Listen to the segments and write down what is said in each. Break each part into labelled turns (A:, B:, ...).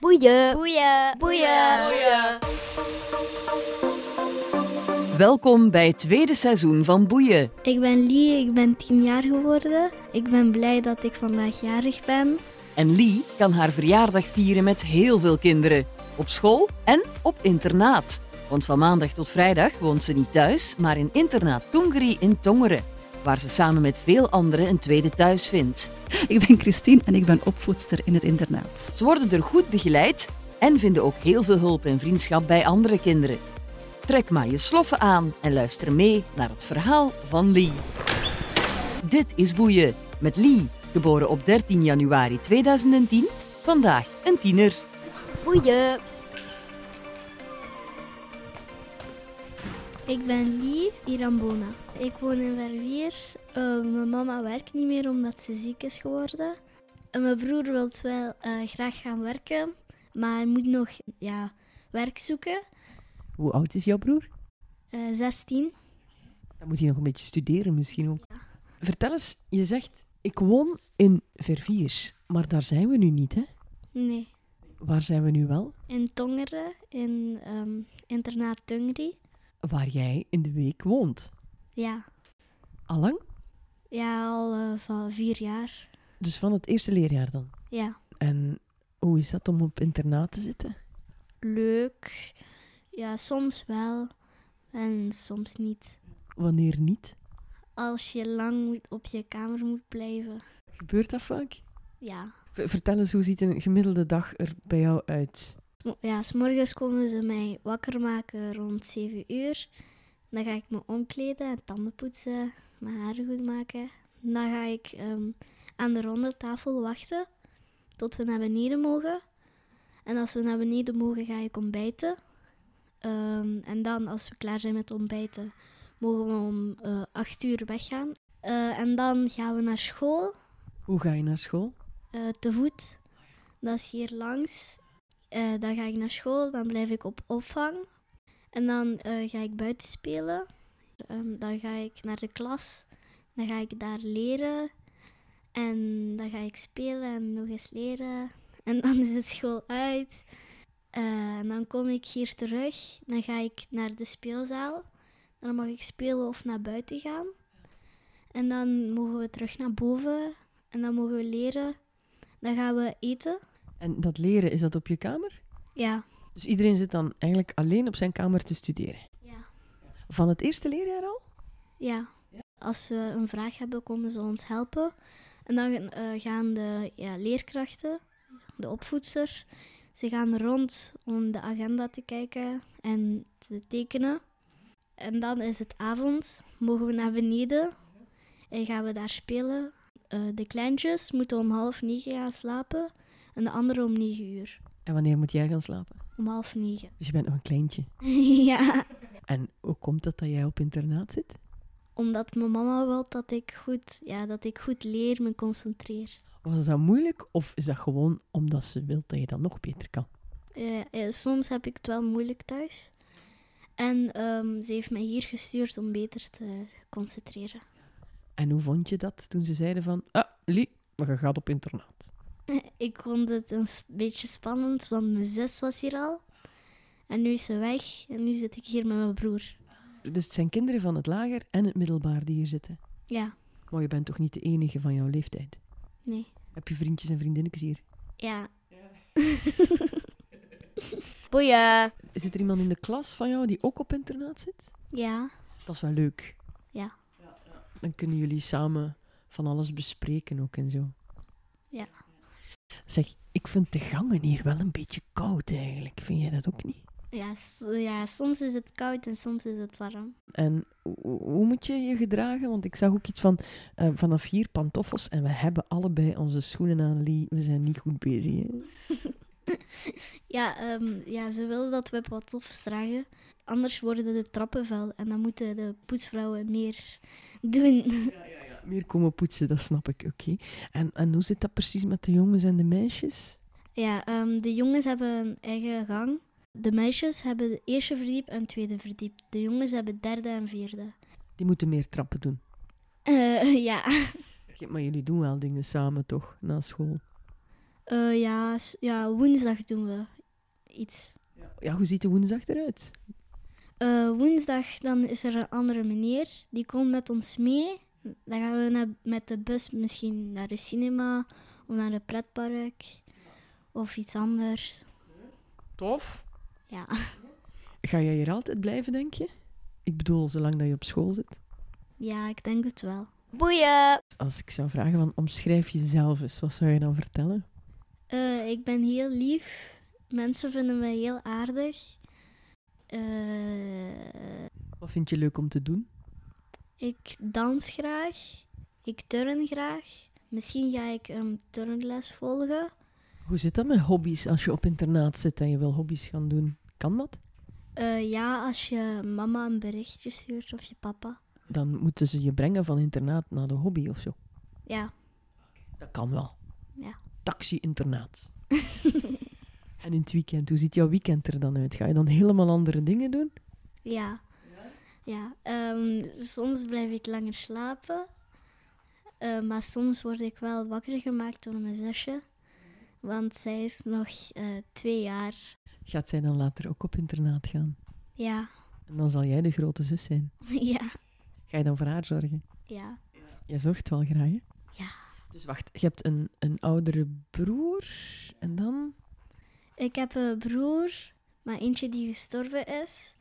A: Boeien.
B: Boeien.
C: Boeien.
D: Welkom bij het tweede seizoen van Boeien.
B: Ik ben Lee, ik ben 10 jaar geworden. Ik ben blij dat ik vandaag jarig ben.
D: En Lee kan haar verjaardag vieren met heel veel kinderen. Op school en op internaat. Want van maandag tot vrijdag woont ze niet thuis, maar in internaat Tongeri in Tongeren. Waar ze samen met veel anderen een tweede thuis vindt.
E: Ik ben Christine en ik ben opvoedster in het internaat.
D: Ze worden er goed begeleid en vinden ook heel veel hulp en vriendschap bij andere kinderen. Trek maar je sloffen aan en luister mee naar het verhaal van Lee. Dit is Boeien met Lee, geboren op 13 januari 2010, vandaag een tiener.
A: Boeien.
B: Ik ben Lee Irambona. Ik woon in Verweers. Eh, mijn mama werkt niet meer omdat ze ziek is geworden. En mijn broer wil wel eh, graag gaan werken, maar hij moet nog ja, werk zoeken.
F: Hoe oud is jouw broer?
B: Eh, 16.
F: Dan moet hij nog een beetje studeren misschien ook. Vertel eens, je zegt, ik woon in Verviers, maar daar zijn we nu niet, hè?
B: Nee.
F: Waar zijn we nu wel?
B: In Tongeren, in ehm, internaat Tungri.
F: Waar jij in de week woont.
B: Ja.
F: Allang?
B: Ja, al eh, van vier jaar.
F: Dus van het eerste leerjaar dan.
B: Ja.
F: En hoe is dat om op internaat te zitten?
B: Leuk. Ja, soms wel en soms niet.
F: Wanneer niet?
B: Als je lang moet op je kamer moet blijven.
F: Gebeurt dat vaak?
B: Ja.
F: V- vertel eens, hoe ziet een gemiddelde dag er bij jou uit?
B: Mo- Ja, s'morgens komen ze mij wakker maken rond 7 uur. Dan ga ik me omkleden en tanden poetsen, mijn haren goed maken. Dan ga ik ehm, aan de ronde tafel wachten tot we naar beneden mogen. En als we naar beneden mogen, ga ik ontbijten. Ehm, en dan, als we klaar zijn met ontbijten, mogen we om eh 8 uur weggaan. Eh, en dan gaan we naar school.
F: Hoe ga je naar school?
B: Eh, te voet. Dat is hier langs. Eh, dan ga ik naar school, dan blijf ik op opvang. En dan eh, ga ik buiten spelen. Ehm, dan ga ik naar de klas. Dan ga ik daar leren. En dan ga ik spelen en nog eens leren. En dan is het school uit. Eh, en dan kom ik hier terug. Dan ga ik naar de speelzaal. Dan mag ik spelen of naar buiten gaan. En dan mogen we terug naar boven. En dan mogen we leren. Dan gaan we eten.
F: En dat leren, is dat op je kamer?
B: Ja.
F: Dus iedereen zit dan eigenlijk alleen op zijn kamer te studeren.
B: Ja.
F: Van het eerste leerjaar al?
B: ja. Als ze een vraag hebben, komen ze ons helpen. En dan eh, gaan de ja, leerkrachten, de opvoedster, ze gaan rond om de agenda te kijken en te tekenen. En dan is het avond, mogen we naar beneden en gaan we daar spelen. Eh, de kleintjes moeten om half negen gaan slapen en de anderen om negen uur.
F: En wanneer moet jij gaan slapen?
B: Om half negen.
F: Dus je bent nog een kleintje.
B: ja.
F: En hoe komt het dat jij op internaat zit?
B: Omdat mijn mama wil dat ik goed, ja, dat ik goed leer, me concentreer.
F: Was dat moeilijk of is dat gewoon omdat ze wil dat je dat nog beter kan?
B: Eh, eh, soms heb ik het wel moeilijk thuis. En ehm, ze heeft mij hier gestuurd om beter te concentreren.
F: En hoe vond je dat toen ze zeiden van, ah, Lie, maar je gaat op internaat?
B: Ik vond het een s- beetje spannend, want mijn zus was hier al. En nu is ze weg en nu zit ik hier met mijn broer.
F: Dus het zijn kinderen van het lager en het middelbaar die hier zitten.
B: Ja,
F: Maar je bent toch niet de enige van jouw leeftijd?
B: nee.
F: Heb je vriendjes en vriendinnetjes hier?
B: Ja,
A: Boeien.
F: Zit er iemand in de klas van jou die ook op internaat zit?
B: ja,
F: Dat is wel leuk.
B: Ja.
F: Dan kunnen jullie samen van alles bespreken ook en zo.
B: Ja.
F: Zeg, ik vind de gangen hier wel een beetje koud eigenlijk. Vind jij dat ook niet?
B: ja, s- ja. Soms is het koud en soms is het warm.
F: En ho- ho- hoe moet je je gedragen? Want ik zag ook iets van eh, vanaf hier pantoffels en we hebben allebei onze schoenen aan, Lee. We zijn niet goed bezig. hè?
B: Ja, ehm, ja, ze wilden dat we pantoffels dragen. Anders worden de trappen vuil en dan moeten de poetsvrouwen meer doen.
F: Meer komen poetsen, dat snap ik, oké. En, en hoe zit dat precies met de jongens en de meisjes?
B: Ja, ehm, de jongens hebben een eigen gang. De meisjes hebben het eerste verdiep en het tweede verdiep. De jongens hebben derde en vierde.
F: Die moeten meer trappen doen.
B: Eh, ja,
F: Maar jullie doen wel dingen samen toch, na school?
B: Eh, ja, s- ja, woensdag doen we iets.
F: Ja, hoe ziet de woensdag eruit?
B: Eh, woensdag dan is er een andere meneer. Die komt met ons mee. Dan gaan we naar, met de bus misschien naar de cinema of naar een pretpark of iets anders.
F: Tof.
B: Ja.
F: Ga jij hier altijd blijven, denk je? Ik bedoel, zolang dat je op school zit.
B: ja, ik denk het wel.
A: Boeien.
F: Als ik zou vragen van omschrijf jezelf eens, wat zou je dan vertellen?
B: Eh, ik ben heel lief. Mensen vinden me heel aardig. Eh,
F: Wat vind je leuk om te doen?
B: ik dans graag. Ik turn graag. Misschien ga ik een turnles volgen.
F: Hoe zit dat met hobby's als je op internaat zit en je wil hobby's gaan doen? Kan dat?
B: Eh, ja, als je mama een berichtje stuurt of je papa.
F: Dan moeten ze je brengen van internaat naar de hobby of zo.
B: Ja,
F: Dat kan wel.
B: Ja.
F: Taxi-internaat. en in het weekend, hoe ziet jouw weekend er dan uit? Ga je dan helemaal andere dingen doen?
B: ja. Ja, ehm, soms blijf ik langer slapen. Eh, maar soms word ik wel wakker gemaakt door mijn zusje. Want zij is nog eh, twee jaar.
F: Gaat zij dan later ook op internaat gaan?
B: Ja,
F: En dan zal jij de grote zus zijn.
B: ja,
F: Ga je dan voor haar zorgen?
B: ja.
F: Jij zorgt wel graag, hè?
B: Ja.
F: Dus wacht, je hebt een, een oudere broer en dan...
B: Ik heb een broer, maar eentje die gestorven is.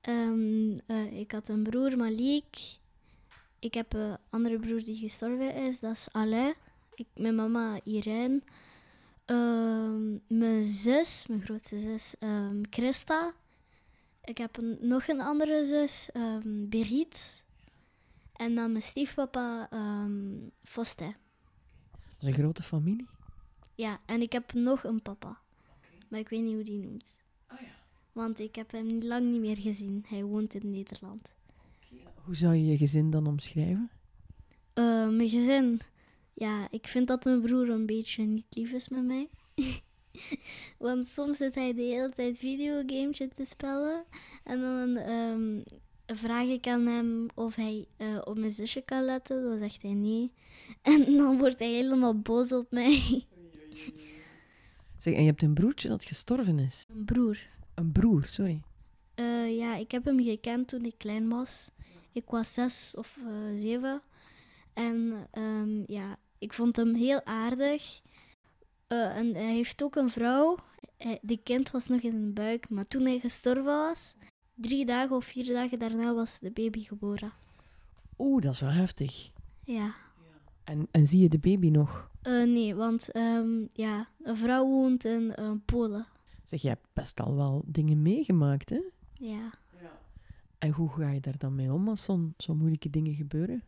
B: Ehm, eh, ik had een broer, Malik. Ik heb een andere broer die gestorven is, dat is Alain. Ik, mijn mama, Irene. Ehm, mijn zus, mijn grootste zus, ehm, Christa. Ik heb een- nog een andere zus, ehm Birgit. En dan mijn stiefpapa, ehm Foste.
F: Dat is een grote familie.
B: Ja, en ik heb nog een papa. Maar ik weet niet hoe die noemt. Want ik heb hem lang niet meer gezien. Hij woont in Nederland.
F: Hoe zou je je gezin dan omschrijven?
B: Eh, mijn gezin. Ja, ik vind dat mijn broer een beetje niet lief is met mij. Want soms zit hij de hele tijd videogametje te spelen. En dan ehm, vraag ik aan hem of hij eh, op mijn zusje kan letten. Dan zegt hij nee. En dan wordt hij helemaal boos op mij.
F: Zeg, en je hebt een broertje dat gestorven is.
B: Mijn broer.
F: Een broer, sorry.
B: Eh, ja, ik heb hem gekend toen ik klein was. Ik was zes of eh, zeven. En ehm, ja, ik vond hem heel aardig. Eh, en hij heeft ook een vrouw. Hij- die kind was nog in zijn buik, maar toen hij gestorven was, drie dagen of vier dagen daarna was de baby geboren.
F: Oeh, dat is wel heftig.
B: Ja.
F: En, en zie je de baby nog?
B: Eh, nee, want ehm, ja, een vrouw woont in eh, Polen.
F: Zeg, je hebt best al wel dingen meegemaakt, hè?
B: Ja.
F: En hoe ga je daar dan mee om als zo'n zo'n moeilijke dingen gebeuren?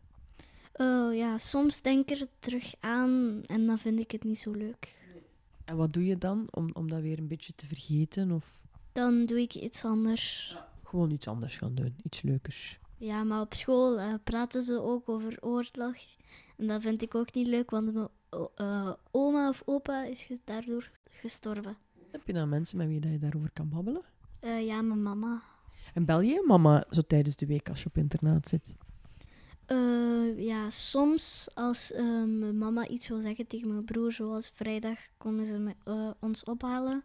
B: Oh ja, soms denk ik er terug aan en dan vind ik het niet zo leuk.
F: En wat doe je dan om, om dat weer een beetje te vergeten of
B: Dan doe ik iets anders.
F: gewoon iets anders gaan doen, iets leukers?
B: Ja, maar op school eh, praten ze ook over oorlog. En dat vind ik ook niet leuk, want mijn o- eh, oma of opa is ge- daardoor gestorven.
F: Heb je dan mensen met wie dat je daarover kan babbelen?
B: Eh, ja, mijn mama.
F: En bel je je mama zo tijdens de week als je op internaat zit?
B: Eh, ja, soms als eh, mijn mama iets wil zeggen tegen mijn broer, zoals vrijdag komen ze me- eh, ons ophalen,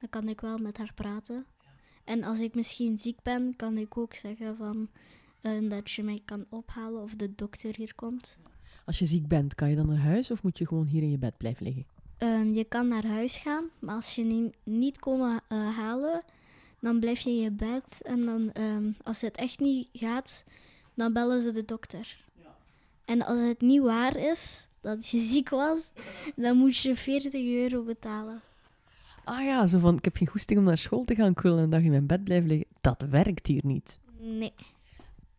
B: dan kan ik wel met haar praten. En als ik misschien ziek ben, kan ik ook zeggen van, eh, dat je mij kan ophalen of de dokter hier komt.
F: Als je ziek bent, kan je dan naar huis of moet je gewoon hier in je bed blijven liggen?
B: Ehm, je kan naar huis gaan, maar als je ni- niet komen eh, halen, dan blijf je in je bed. En dan, ehm, als het echt niet gaat, dan bellen ze de dokter. En als het niet waar is dat je ziek was, dan moet je 40 euro betalen.
F: Ah ja, zo van, ik heb geen goesting om naar school te gaan, ik wil een dag in mijn bed blijven liggen. Dat werkt hier niet.
B: Nee,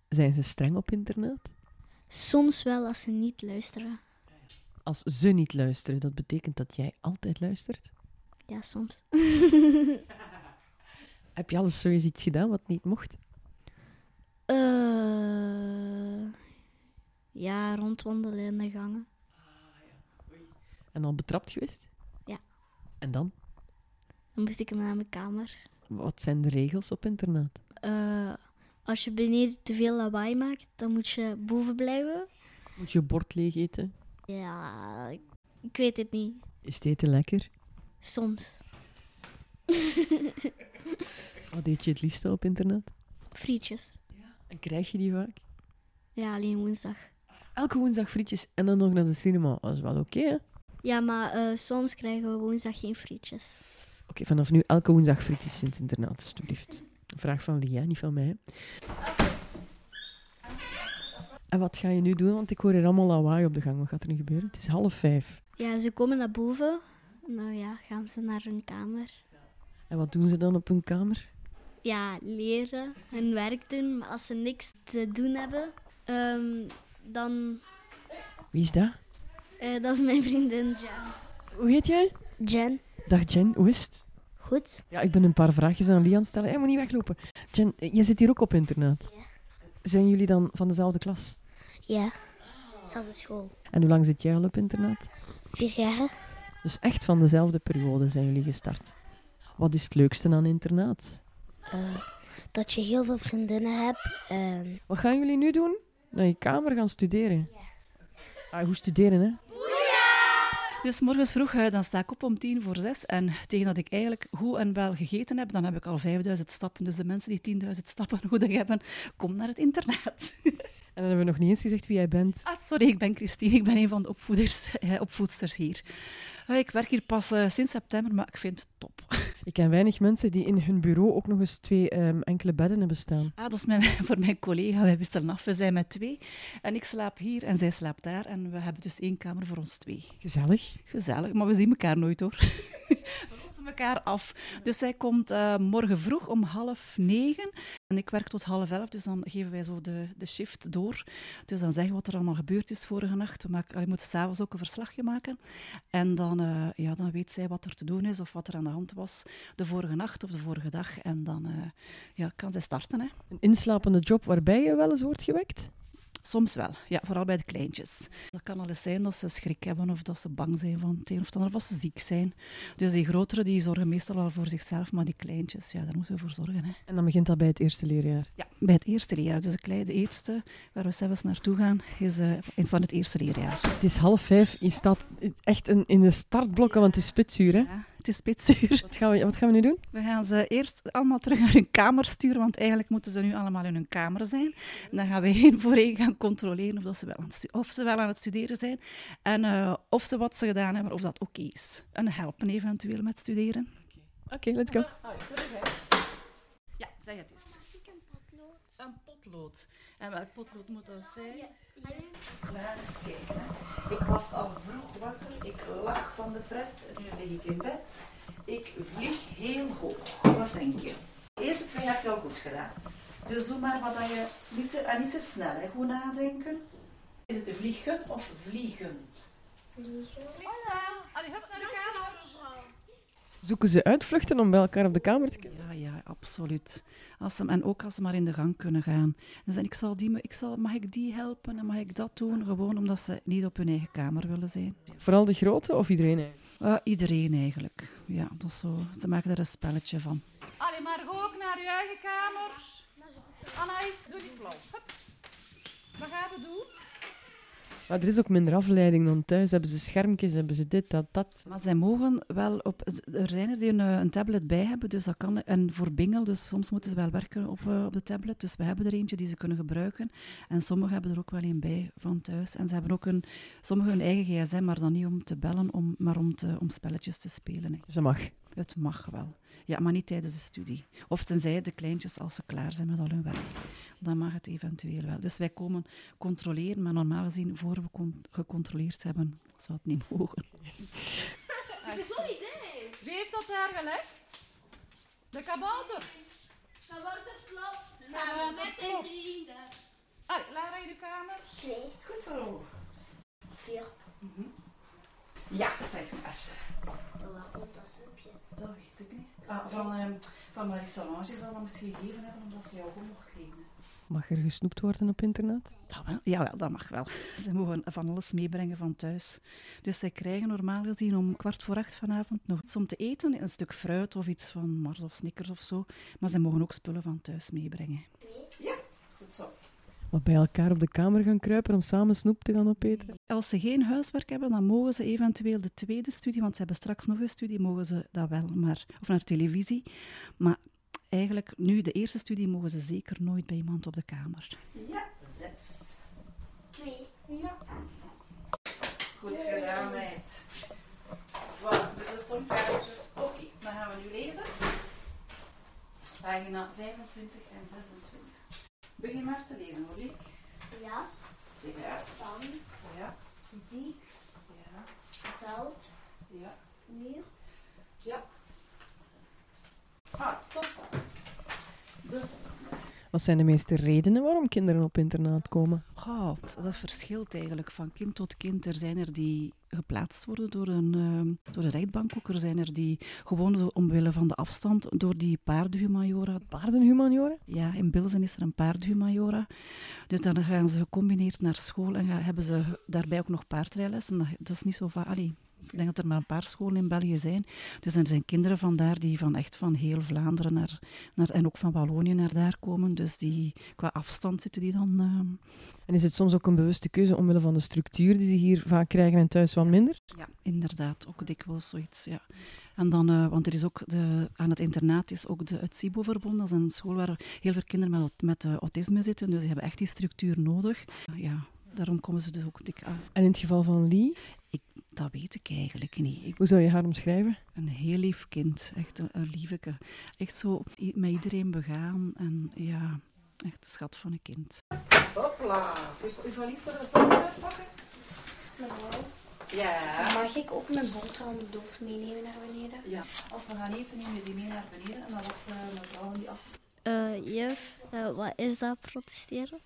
F: Zijn ze streng op internaat?
B: soms wel als ze niet luisteren.
F: Als ze niet luisteren, dat betekent dat jij altijd luistert?
B: Ja, soms.
F: Heb je alles sowieso iets gedaan wat niet mocht?
B: Eh, ja, rondwandelen in de gangen.
F: En al betrapt geweest?
B: Ja.
F: En dan?
B: Dan moest ik hem naar mijn kamer.
F: Wat zijn de regels op internaat?
B: Eh, als je beneden te veel lawaai maakt, dan moet je boven blijven.
F: Moet je bord leeg eten?
B: Ja, ik, ik weet het niet.
F: Is het eten lekker?
B: Soms.
F: Wat eet je het liefste op internaat?
B: Frietjes.
F: En krijg je die vaak?
B: Ja, alleen woensdag.
F: Elke woensdag frietjes en dan nog naar de cinema. Dat is wel oké, hè? Oké,
B: Ja, maar eh, soms krijgen we woensdag geen frietjes.
F: vanaf nu elke woensdag frietjes in het internaat, alstublieft. Een vraag van Lia, niet van mij. hè. En wat ga je nu doen? Want ik hoor hier allemaal lawaai op de gang. Wat gaat er nu gebeuren? Het is half vijf.
B: Ja, ze komen naar boven. Nou ja, gaan ze naar hun kamer.
F: En wat doen ze dan op hun kamer?
B: Ja, leren, hun werk doen. Maar als ze niks te doen hebben, ehm, dan...
F: Wie is dat?
B: eh, dat is mijn vriendin Jen.
F: Hoe heet jij?
A: Jen.
F: Dag Jen, hoe is het?
A: Goed.
F: Ja, ik ben een paar vraagjes aan Lia aan het stellen. Hij moet niet weglopen. Jen, eh, jij zit hier ook op internaat.
A: Ja.
F: Zijn jullie dan van dezelfde klas?
A: Ja. Zelfde school.
F: En hoe lang zit jij al op internaat?
A: Vier jaar.
F: Dus echt van dezelfde periode zijn jullie gestart. Wat is het leukste aan internaat?
A: Eh, dat je heel veel vriendinnen hebt. En
F: Wat gaan jullie nu doen? Naar je kamer gaan studeren. Ah, goed studeren, hè?
C: Dus morgens vroeg, eh, dan sta ik op om tien voor zes. En tegen dat ik eigenlijk goed en wel gegeten heb, dan heb ik al 5000 stappen. Dus de mensen die 10.000 stappen nodig hebben, kom naar het internaat.
F: En dan hebben we nog niet eens gezegd wie jij bent.
C: Ah, sorry, ik ben Christine. Ik ben een van de opvoeders, eh, opvoedsters hier. Eh, Ik werk hier pas eh, sinds september, maar ik vind het top.
F: Ik ken weinig mensen die in hun bureau ook nog eens twee ehm, enkele bedden hebben staan.
C: Ah, dat is mijn, voor mijn collega. Wij wisselen af. We zijn met twee. En ik slaap hier en zij slaapt daar. En we hebben dus één kamer voor ons twee.
F: Gezellig.
C: Gezellig, maar we zien elkaar nooit hoor. We lossen elkaar af. Dus zij komt eh, morgen vroeg om half negen. En ik werk tot half elf, dus dan geven wij zo de, de shift door. Dus dan zeggen we wat er allemaal gebeurd is vorige nacht. We maken, allee, we moeten s'avonds ook een verslagje maken. En dan, eh, ja, dan weet zij wat er te doen is of wat er aan de hand was de vorige nacht of de vorige dag. En dan eh, ja, kan zij starten. Hè.
F: Een inslapende job waarbij je wel eens wordt gewekt.
C: Soms wel, ja, vooral bij de kleintjes. Dat kan al eens zijn dat ze schrik hebben of dat ze bang zijn van het een of het ander, of dat ze ziek zijn. Dus die grotere die zorgen meestal wel voor zichzelf, maar die kleintjes, ja, daar moeten we voor zorgen. Hè.
F: En dan begint dat bij het eerste leerjaar.
C: Ja, bij het eerste leerjaar, dus de, klei- de eerste waar we zelfs naartoe gaan, is eh, van het eerste leerjaar.
F: Het is half vijf. Je staat echt in, in de startblokken, want het is spitsuur, hè?
C: Ja, het is spitsuur.
F: Wat gaan, we, wat gaan we nu doen?
C: We gaan ze eerst allemaal terug naar hun kamer sturen, want eigenlijk moeten ze nu allemaal in hun kamer zijn. En dan gaan we één voor één gaan controleren of, dat ze, wel aan het, stu- of ze wel aan het studeren zijn en eh, of ze wat ze gedaan hebben, of dat oké is. En helpen eventueel met studeren.
F: Oké, let's go.
C: Ja, zeg het eens. Een potlood. En welk potlood moet dat zijn? Laat eens kijken. hè. Ik was al vroeg wakker. Ik lag van de pret. Nu lig ik in bed. Ik vlieg heel hoog. Wat denk je? De eerste twee heb je al goed gedaan. Dus doe maar wat dat je... Niet te, en niet te snel, hè. Goed nadenken. Is het vliegen of vliegen?
F: Zoeken ze uitvluchten om bij elkaar op de kamer te komen?
C: Ja, ja, absoluut. Als ze, en ook als ze maar in de gang kunnen gaan. En zeggen, ik zal die, me- ik zal, mag ik die helpen en mag ik dat doen? Gewoon omdat ze niet op hun eigen kamer willen zijn.
F: Vooral de grote of iedereen eigenlijk?
C: Eh, iedereen eigenlijk. Ja, dat is zo. Ze maken daar een spelletje van.
G: Allee, maar ga ook naar je eigen kamer. Anaïs, doe die flauw. Hup. Wat gaan we doen?
F: Maar er is ook minder afleiding dan thuis. Hebben ze schermpjes, hebben ze dit, dat, dat.
C: Maar zij mogen wel op... Er zijn er die een, eh, een tablet bij hebben, dus dat kan... En voor bingel, dus soms moeten ze wel werken op, eh, op de tablet. Dus we hebben er eentje die ze kunnen gebruiken. En sommigen hebben er ook wel een bij van thuis. En ze hebben ook een... Sommigen hun eigen gsm, maar dan niet om te bellen, om, maar om, te, om spelletjes te spelen. hè.
F: Ze mag.
C: Het mag wel. Ja, maar niet tijdens de studie. Of tenzij de kleintjes als ze klaar zijn met al hun werk. Dan mag het eventueel wel. Dus wij komen controleren, maar normaal gezien, voor we con- gecontroleerd hebben, zou het niet mogen.
G: Wie heeft dat daar gelegd? De kabouters. Kabouters klopt. Kabouters klopt. Allee, Lara in de kamer.
C: Goed zo. Mhm.
A: Vier.
C: Ja, zeg maar.
A: Waar komt dat snoepje?
C: Dat weet ik niet. Ah, van ehm, van Marie-Solange zal dat misschien gegeven hebben, omdat ze jou goed mocht lenen.
F: Mag er gesnoept worden op internaat?
C: Dat wel? Jawel, dat mag wel. Ze mogen van alles meebrengen van thuis. Dus zij krijgen normaal gezien om kwart voor acht vanavond nog iets om te eten. Een stuk fruit of iets van Mars of Snickers of zo. Maar ze mogen ook spullen van thuis meebrengen. Ja, goed zo.
F: Maar bij elkaar op de kamer gaan kruipen om samen snoep te gaan opeten.
E: Als ze geen huiswerk hebben, dan mogen ze eventueel de tweede studie, want ze hebben straks nog een studie, mogen ze dat wel, maar, of naar televisie. Maar eigenlijk, nu de eerste studie, mogen ze zeker nooit bij iemand op de kamer.
C: Ja, zes. Twee. Ja. Goed gedaan, meid. Voilà, dit is zo'n kaartjes. Oké, dan gaan we nu lezen. Pagina 25 en 26. Begin maar te lezen, hoor, Liek.
A: Jas,
C: Ja,
A: pan,
C: ja,
A: ziek,
C: ja,
A: zout,
C: ja.
A: muur.
C: Ja. Ah, tot straks. De
F: Wat zijn de meeste redenen waarom kinderen op internaat komen?
E: Goh, dat verschilt eigenlijk van kind tot kind. Er zijn er die geplaatst worden door een, ehm, door de rechtbank ook. Er zijn er die gewoon door- omwille van de afstand door die paardenhumajora.
F: Paardenhumanioren?
E: Ja, in Bilzen is er een paardenhumajora. Dus dan gaan ze gecombineerd naar school en gaan- hebben ze daarbij ook nog paardrijlessen. Dat- Dat is niet zo vaak. Allee, Ik denk dat er maar een paar scholen in België zijn. Dus er zijn kinderen vandaar die van echt van heel Vlaanderen naar, naar, en ook van Wallonië naar daar komen. Dus die, qua afstand zitten die dan... ehm,
F: En is het soms ook een bewuste keuze omwille van de structuur die ze hier vaak krijgen en thuis wat minder?
E: Ja, inderdaad, ook dikwijls zoiets. Ja. En dan, eh, want er is ook de, aan het internaat is ook de, het SIBO-verbond. Dat is een school waar heel veel kinderen met, aut- met eh, autisme zitten. Dus die hebben echt die structuur nodig. Ja, daarom komen ze dus ook dik aan.
F: En in het geval van Lee,
E: Dat weet ik eigenlijk niet. Ik,
F: hoe zou je haar omschrijven?
E: een heel lief kind, echt een, een lieveke. Echt zo i- met iedereen begaan. En ja, echt een schat van een kind.
C: Hopla. Uw, uw valies zullen we straks uitpakken? Ja.
A: Mag ik ook mijn boterhamdoos meenemen naar beneden?
C: ja. Als we gaan eten, nemen we die mee naar beneden. En dan was eh mevrouw die af.
B: Eh, juf, eh, wat is dat protesteren?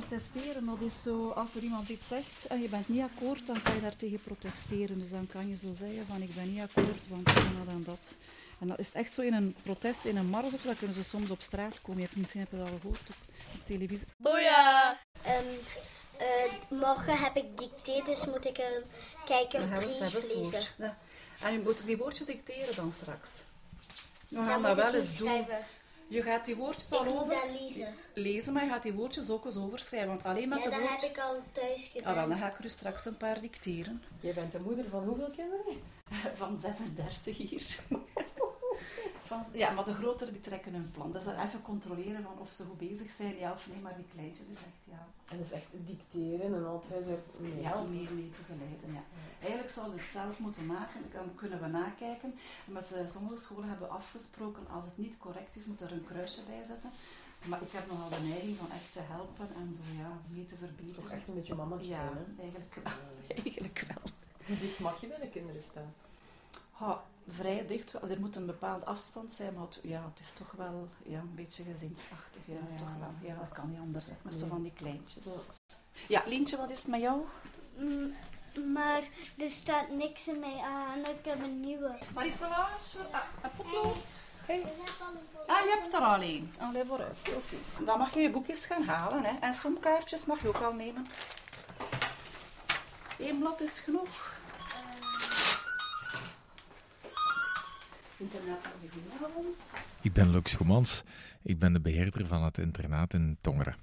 E: Protesteren, dat is zo, als er iemand iets zegt en je bent niet akkoord, dan kan je daartegen protesteren. Dus dan kan je zo zeggen van ik ben niet akkoord, want ik ben dat en dat. En dat is echt zo in een protest, in een mars of zo, dan kunnen ze soms op straat komen. Je hebt, misschien heb je dat al gehoord op, op televisie.
A: Eh, morgen heb ik dicté, dus moet ik um, kijken
C: hebben
A: drie lezen.
C: Ja. En u moet die woordjes dicteren dan straks. We
A: Dan
C: gaan
A: moet
C: dat
A: ik
C: wel eens
A: niet
C: doen.
A: schrijven.
C: Je gaat die woordjes
A: Ik
C: al
A: moet
C: over
A: dat lezen.
C: lezen, maar je gaat die woordjes ook eens overschrijven. Want alleen met
A: Ja,
C: de
A: dat heb
C: woordjes...
A: ik al thuis
C: Ah, wel,
A: gedaan.
C: dan ga ik er u straks een paar dicteren.
G: Je bent de moeder van hoeveel kinderen?
C: Van 36 hier. Van, ja, maar de grotere die trekken hun plan. Dus dan even controleren van of ze goed bezig zijn, ja of nee. Maar die kleintjes is echt ja.
G: En dat is echt dicteren en al het huiswerk. Nee.
C: Ja, meer mee begeleiden. Ja. Eigenlijk zouden ze het zelf moeten maken, dan kunnen we nakijken. Met eh, sommige scholen hebben we afgesproken, als het niet correct is, moet er een kruisje bij zetten. Maar ik heb nogal de neiging van echt te helpen en zo ja, mee te
G: Toch
C: verbeteren.
G: echt een beetje mama
C: Ja,
G: zijn, hè?
C: eigenlijk wel. Eigenlijk wel.
G: Hoe dicht mag je bij de kinderen staan?
C: Ja, vrij dicht. wel. Er moet een bepaald afstand zijn, maar het, ja, het is toch wel ja, een beetje gezinsachtig. Ja,
G: Ja.
C: Toch wel. ja, dat kan niet anders. hè. Maar zo
G: Nee.
C: van die kleintjes. Ja, Lientje, wat is het met jou?
A: maar er staat niks mee aan. Ik heb een nieuwe.
C: Marie-Solange, eh, een potlood. Ah, je hebt er al één. Allee, vooruit. Oké. Dan mag je je boekjes gaan halen. Hè. En somkaartjes mag je ook al nemen. Eén blad is genoeg. Internet van de goedenavond.
H: Ik ben Lux Goemans. Ik ben de beheerder van het internaat in Tongeren.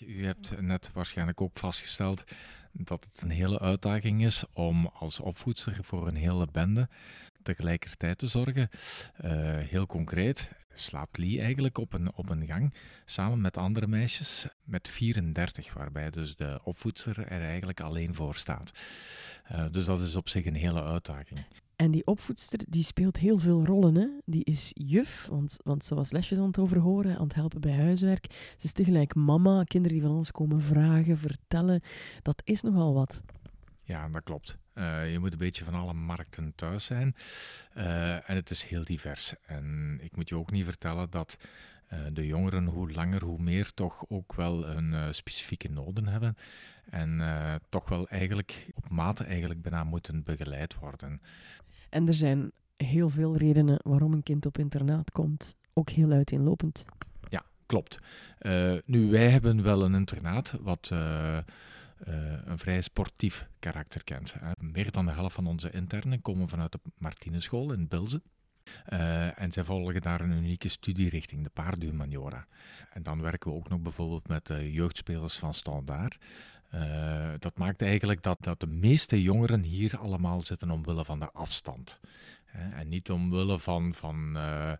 H: U hebt net waarschijnlijk ook vastgesteld dat het een hele uitdaging is om als opvoedster voor een hele bende tegelijkertijd te zorgen. Eh, heel concreet slaapt Lee eigenlijk op een, op een gang samen met andere meisjes met 34, waarbij dus de opvoedster er eigenlijk alleen voor staat. Eh, dus dat is op zich een hele uitdaging.
F: En die opvoedster die speelt heel veel rollen. Hè? Die is juf, want, want ze was lesjes aan het overhoren, aan het helpen bij huiswerk. Ze is tegelijk mama, kinderen die van ons komen vragen, vertellen. Dat is nogal wat.
H: Ja, dat klopt. Eh, je moet een beetje van alle markten thuis zijn. Eh, en het is heel divers. En ik moet je ook niet vertellen dat eh, de jongeren hoe langer hoe meer toch ook wel hun eh, specifieke noden hebben. En eh, toch wel eigenlijk op mate eigenlijk bijna moeten begeleid worden.
F: En er zijn heel veel redenen waarom een kind op internaat komt. Ook heel uiteenlopend.
H: Klopt. Eh, nu, wij hebben wel een internaat wat eh, eh, een vrij sportief karakter kent. Hè. Meer dan de helft van onze internen komen vanuit de Martinenschool in Bilzen. Eh, en zij volgen daar een unieke studierichting, de paardhumaniora. En dan werken we ook nog bijvoorbeeld met de jeugdspelers van Standaard. Eh, dat maakt eigenlijk dat, dat de meeste jongeren hier allemaal zitten omwille van de afstand. Hè, en niet omwille van, van eh,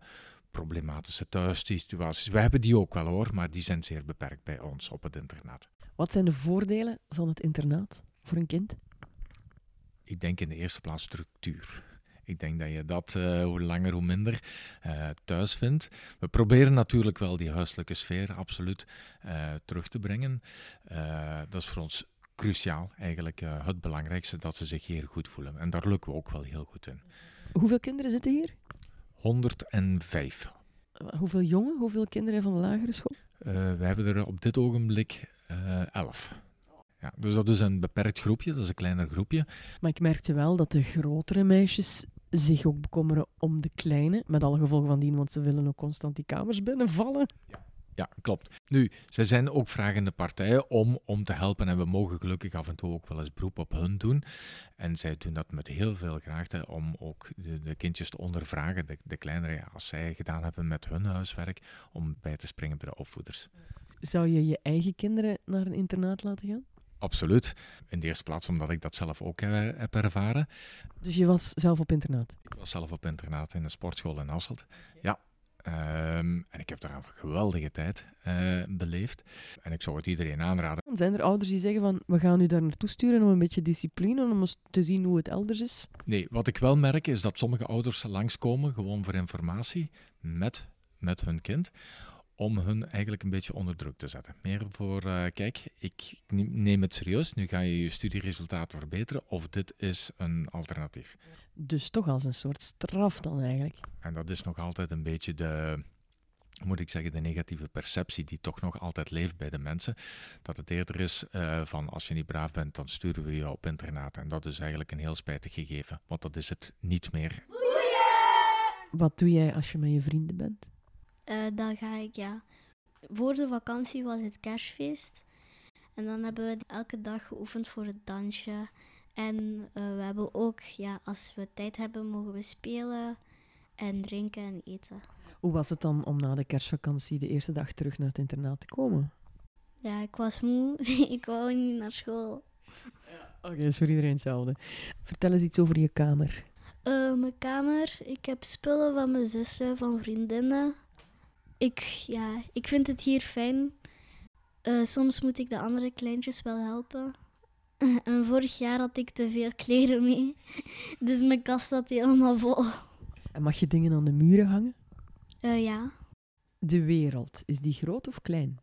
H: problematische thuissituaties. We hebben die ook wel hoor, maar die zijn zeer beperkt bij ons op het internaat.
F: Wat zijn de voordelen van het internaat voor een kind?
H: Ik denk in de eerste plaats structuur. Ik denk dat je dat eh, hoe langer hoe minder eh, thuis vindt. We proberen natuurlijk wel die huiselijke sfeer absoluut eh, terug te brengen. Eh, dat is voor ons cruciaal, eigenlijk eh, het belangrijkste, dat ze zich hier goed voelen. En daar lukken we ook wel heel goed in.
F: Hoeveel kinderen zitten hier?
H: 105.
F: Hoeveel jongen, hoeveel kinderen van de lagere school?
H: Eh, we hebben er op dit ogenblik eh 11. Ja, dus dat is een beperkt groepje, dat is een kleiner groepje.
F: Maar ik merkte wel dat de grotere meisjes zich ook bekommeren om de kleine, met alle gevolgen van dien, want ze willen ook constant die kamers binnenvallen.
H: Ja, klopt. Nu, zij zijn ook vragende partijen om, om te helpen. En we mogen gelukkig af en toe ook wel eens beroep op hun doen. En zij doen dat met heel veel graagte om ook de, de kindjes te ondervragen, de, de kleinere, ja, als zij gedaan hebben met hun huiswerk, om bij te springen bij de opvoeders.
F: Zou je je eigen kinderen naar een internaat laten gaan?
H: Absoluut. In de eerste plaats omdat ik dat zelf ook he- heb ervaren.
F: Dus je was zelf op internaat.
H: Ik was zelf op internaat in een sportschool in Hasselt. Ja. Ehm, en ik heb daar een geweldige tijd eh, beleefd. En ik zou het iedereen aanraden.
F: Dan zijn er ouders die zeggen van, we gaan u daar naartoe sturen om een beetje discipline, om eens te zien hoe het elders is.
H: Nee, wat ik wel merk is dat sommige ouders langskomen gewoon voor informatie met, met hun kind. Om hun eigenlijk een beetje onder druk te zetten. Meer voor, eh, kijk, ik neem het serieus. Nu ga je je studieresultaten verbeteren. Of dit is een alternatief.
F: Dus toch als een soort straf dan eigenlijk.
H: En dat is nog altijd een beetje de, moet ik zeggen, de negatieve perceptie die toch nog altijd leeft bij de mensen. Dat het eerder is eh, van als je niet braaf bent, dan sturen we je op internaat. En dat is eigenlijk een heel spijtig gegeven. Want dat is het niet meer.
F: Wat doe jij als je met je vrienden bent?
B: Eh, dan ga ik, ja. Voor de vakantie was het kerstfeest. En dan hebben we elke dag geoefend voor het dansje. En eh, we hebben ook, ja, als we tijd hebben, mogen we spelen en drinken en eten.
F: Hoe was het dan om na de kerstvakantie de eerste dag terug naar het internaat te komen?
B: Ja, ik was moe. ik wou niet naar school.
F: Oké, is voor iedereen hetzelfde. Vertel eens iets over je kamer.
B: Eh, mijn kamer. Ik heb spullen van mijn zussen, van vriendinnen. Ik, ja, ik vind het hier fijn. Eh, soms moet ik de andere kleintjes wel helpen. en vorig jaar had ik te veel kleren mee. Dus mijn kast zat helemaal vol.
F: En mag je dingen aan de muren hangen?
B: Eh, ja,
F: De wereld, is die groot of klein?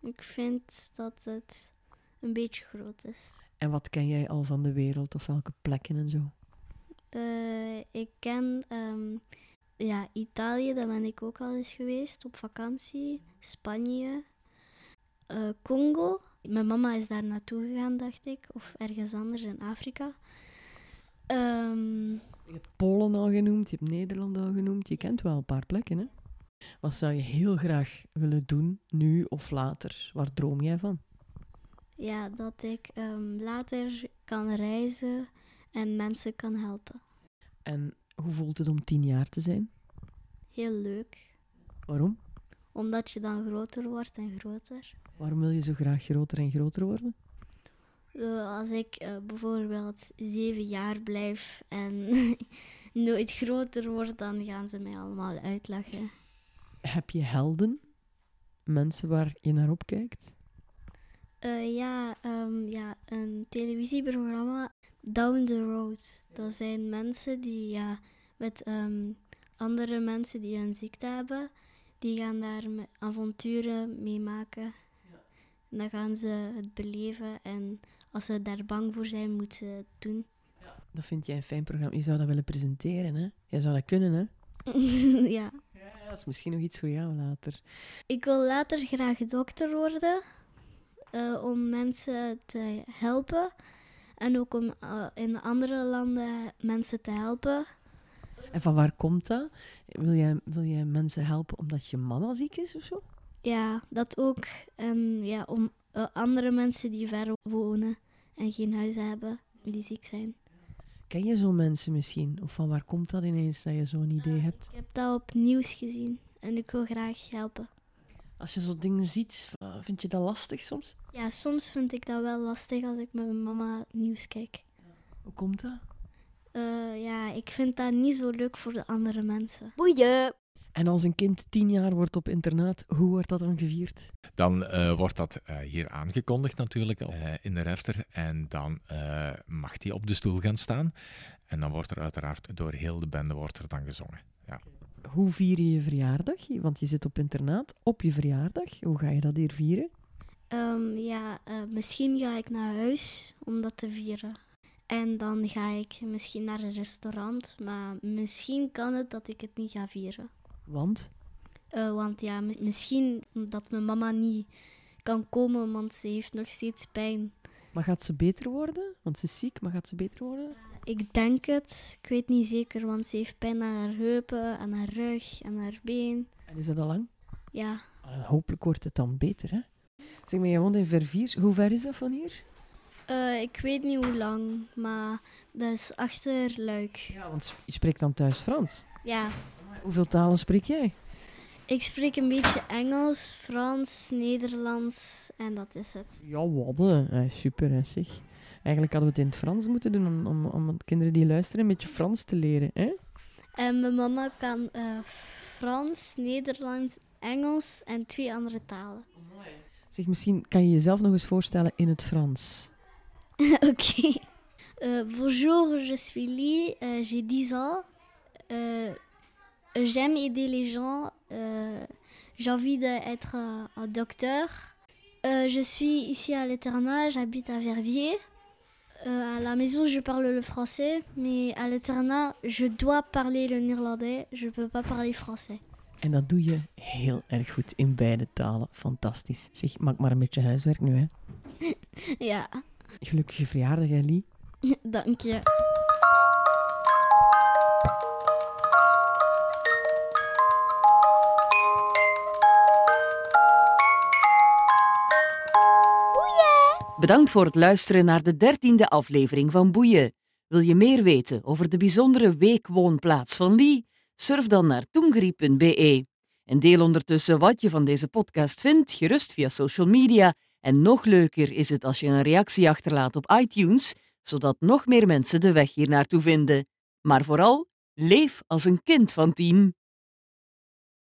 B: ik vind dat het een beetje groot is.
F: En wat ken jij al van de wereld of welke plekken en zo?
B: Eh, ik ken ehm, ja, Italië, daar ben ik ook al eens geweest op vakantie. Spanje, Eh, Congo. Mijn mama is daar naartoe gegaan, dacht ik, of ergens anders in Afrika. Ehm,
F: Je hebt Polen al genoemd, je hebt Nederland al genoemd. Je kent wel een paar plekken, hè? Wat zou je heel graag willen doen, nu of later? Waar droom jij van?
B: ja, dat ik ehm, later kan reizen en mensen kan helpen.
F: En hoe voelt het om tien jaar te zijn?
B: Heel leuk,
F: Waarom?
B: omdat je dan groter wordt en groter.
F: Waarom wil je zo graag groter en groter worden?
B: Eh, Als ik eh, bijvoorbeeld zeven jaar blijf en nooit groter word, dan gaan ze mij allemaal uitlachen.
F: Heb je helden? Mensen waar je naar opkijkt?
B: Eh, ja, ehm, ja, een televisieprogramma, Down the Road. Dat zijn mensen die ja, met ehm, andere mensen die een ziekte hebben, die gaan daar me- avonturen meemaken. En dan gaan ze het beleven en als ze daar bang voor zijn, moeten ze het doen.
F: Dat vind jij een fijn programma. Je zou dat willen presenteren, hè? Jij zou dat kunnen, hè?
B: ja.
F: Ja, dat is misschien nog iets voor jou later.
B: Ik wil later graag dokter worden. eh, om mensen te helpen. En ook om eh, in andere landen mensen te helpen.
F: En van waar komt dat? Wil jij, wil jij mensen helpen omdat je mama ziek is of zo?
B: Ja, dat ook. En ja, om eh, andere mensen die ver wonen en geen huis hebben, die ziek zijn.
F: Oké, Ken je zo mensen misschien? Of van waar komt dat ineens dat je zo'n idee hebt?
B: Ik heb dat op nieuws gezien en ik wil graag helpen.
F: Als je zo dingen ziet, eh, vind je dat lastig soms?
B: Ja, soms vind ik dat wel lastig als ik met mijn mama het nieuws kijk.
F: Hoe komt dat?
B: Eh, ja, ik vind dat niet zo leuk voor de andere mensen.
A: Boeien.
F: En als een kind tien jaar wordt op internaat, hoe wordt dat dan gevierd?
H: Dan eh, wordt dat eh, hier aangekondigd natuurlijk eh, in de refter. En dan eh, mag die op de stoel gaan staan. En dan wordt er uiteraard door heel de bende wordt er dan gezongen.
F: Hoe vier je je verjaardag? Want je zit op internaat op je verjaardag. Hoe ga je dat hier vieren?
B: Ehm, ja, eh, misschien ga ik naar huis om dat te vieren. En dan ga ik misschien naar een restaurant, maar misschien kan het dat ik het niet ga vieren.
F: Want
B: Eh, want ja, mi- misschien dat mijn mama niet kan komen, want ze heeft nog steeds pijn.
F: Maar gaat ze beter worden? Want ze is ziek, maar gaat ze beter worden?
B: Ik denk het, ik weet niet zeker, want ze heeft pijn aan haar heupen, aan haar rug, aan haar been.
F: En is dat al lang?
B: Ja,
F: Ah, hopelijk wordt het dan beter, hè? Zeg maar, je woont in Verviers. Hoe ver is dat van hier?
B: eh, ik weet niet hoe lang, maar dat is achter Luik.
F: Ja, want je spreekt dan thuis Frans.
B: Ja,
F: Hoeveel talen spreek jij?
B: ik spreek een beetje Engels, Frans, Nederlands en dat is het.
F: Ja, wadden. Eh, super, hè, zeg. Eigenlijk hadden we het in het Frans moeten doen om, om, om de kinderen die luisteren een beetje Frans te leren, hè?
B: En mijn mama kan eh, Frans, Nederlands, Engels en twee andere talen.
F: Zeg, misschien kan je jezelf nog eens voorstellen in het Frans.
B: Oké. Euh, bonjour, je suis Lee, euh, j'ai 10 ans. Euh, J'aime aider les gens. euh, j'ai envie d'être euh, un docteur. Euh, je suis ici à l'internat, j'habite à Verviers. Euh, à la maison, je parle le français, mais à l'internat, je dois parler le néerlandais. Je peux pas parler français.
F: En dat doe je heel erg goed in beide talen. Fantastisch. Zeg, maak maar een beetje huiswerk nu, hè?
B: Ja,
F: Gelukkige verjaardag, Ellie.
B: dank je.
D: Bedankt voor het luisteren naar de dertiende aflevering van Boeien. Wil je meer weten over de bijzondere weekwoonplaats van Lee? Surf dan naar toengri.be. En deel ondertussen wat je van deze podcast vindt, gerust via social media. En nog leuker is het als je een reactie achterlaat op iTunes, zodat nog meer mensen de weg hier naartoe vinden. Maar vooral, leef als een kind van tien.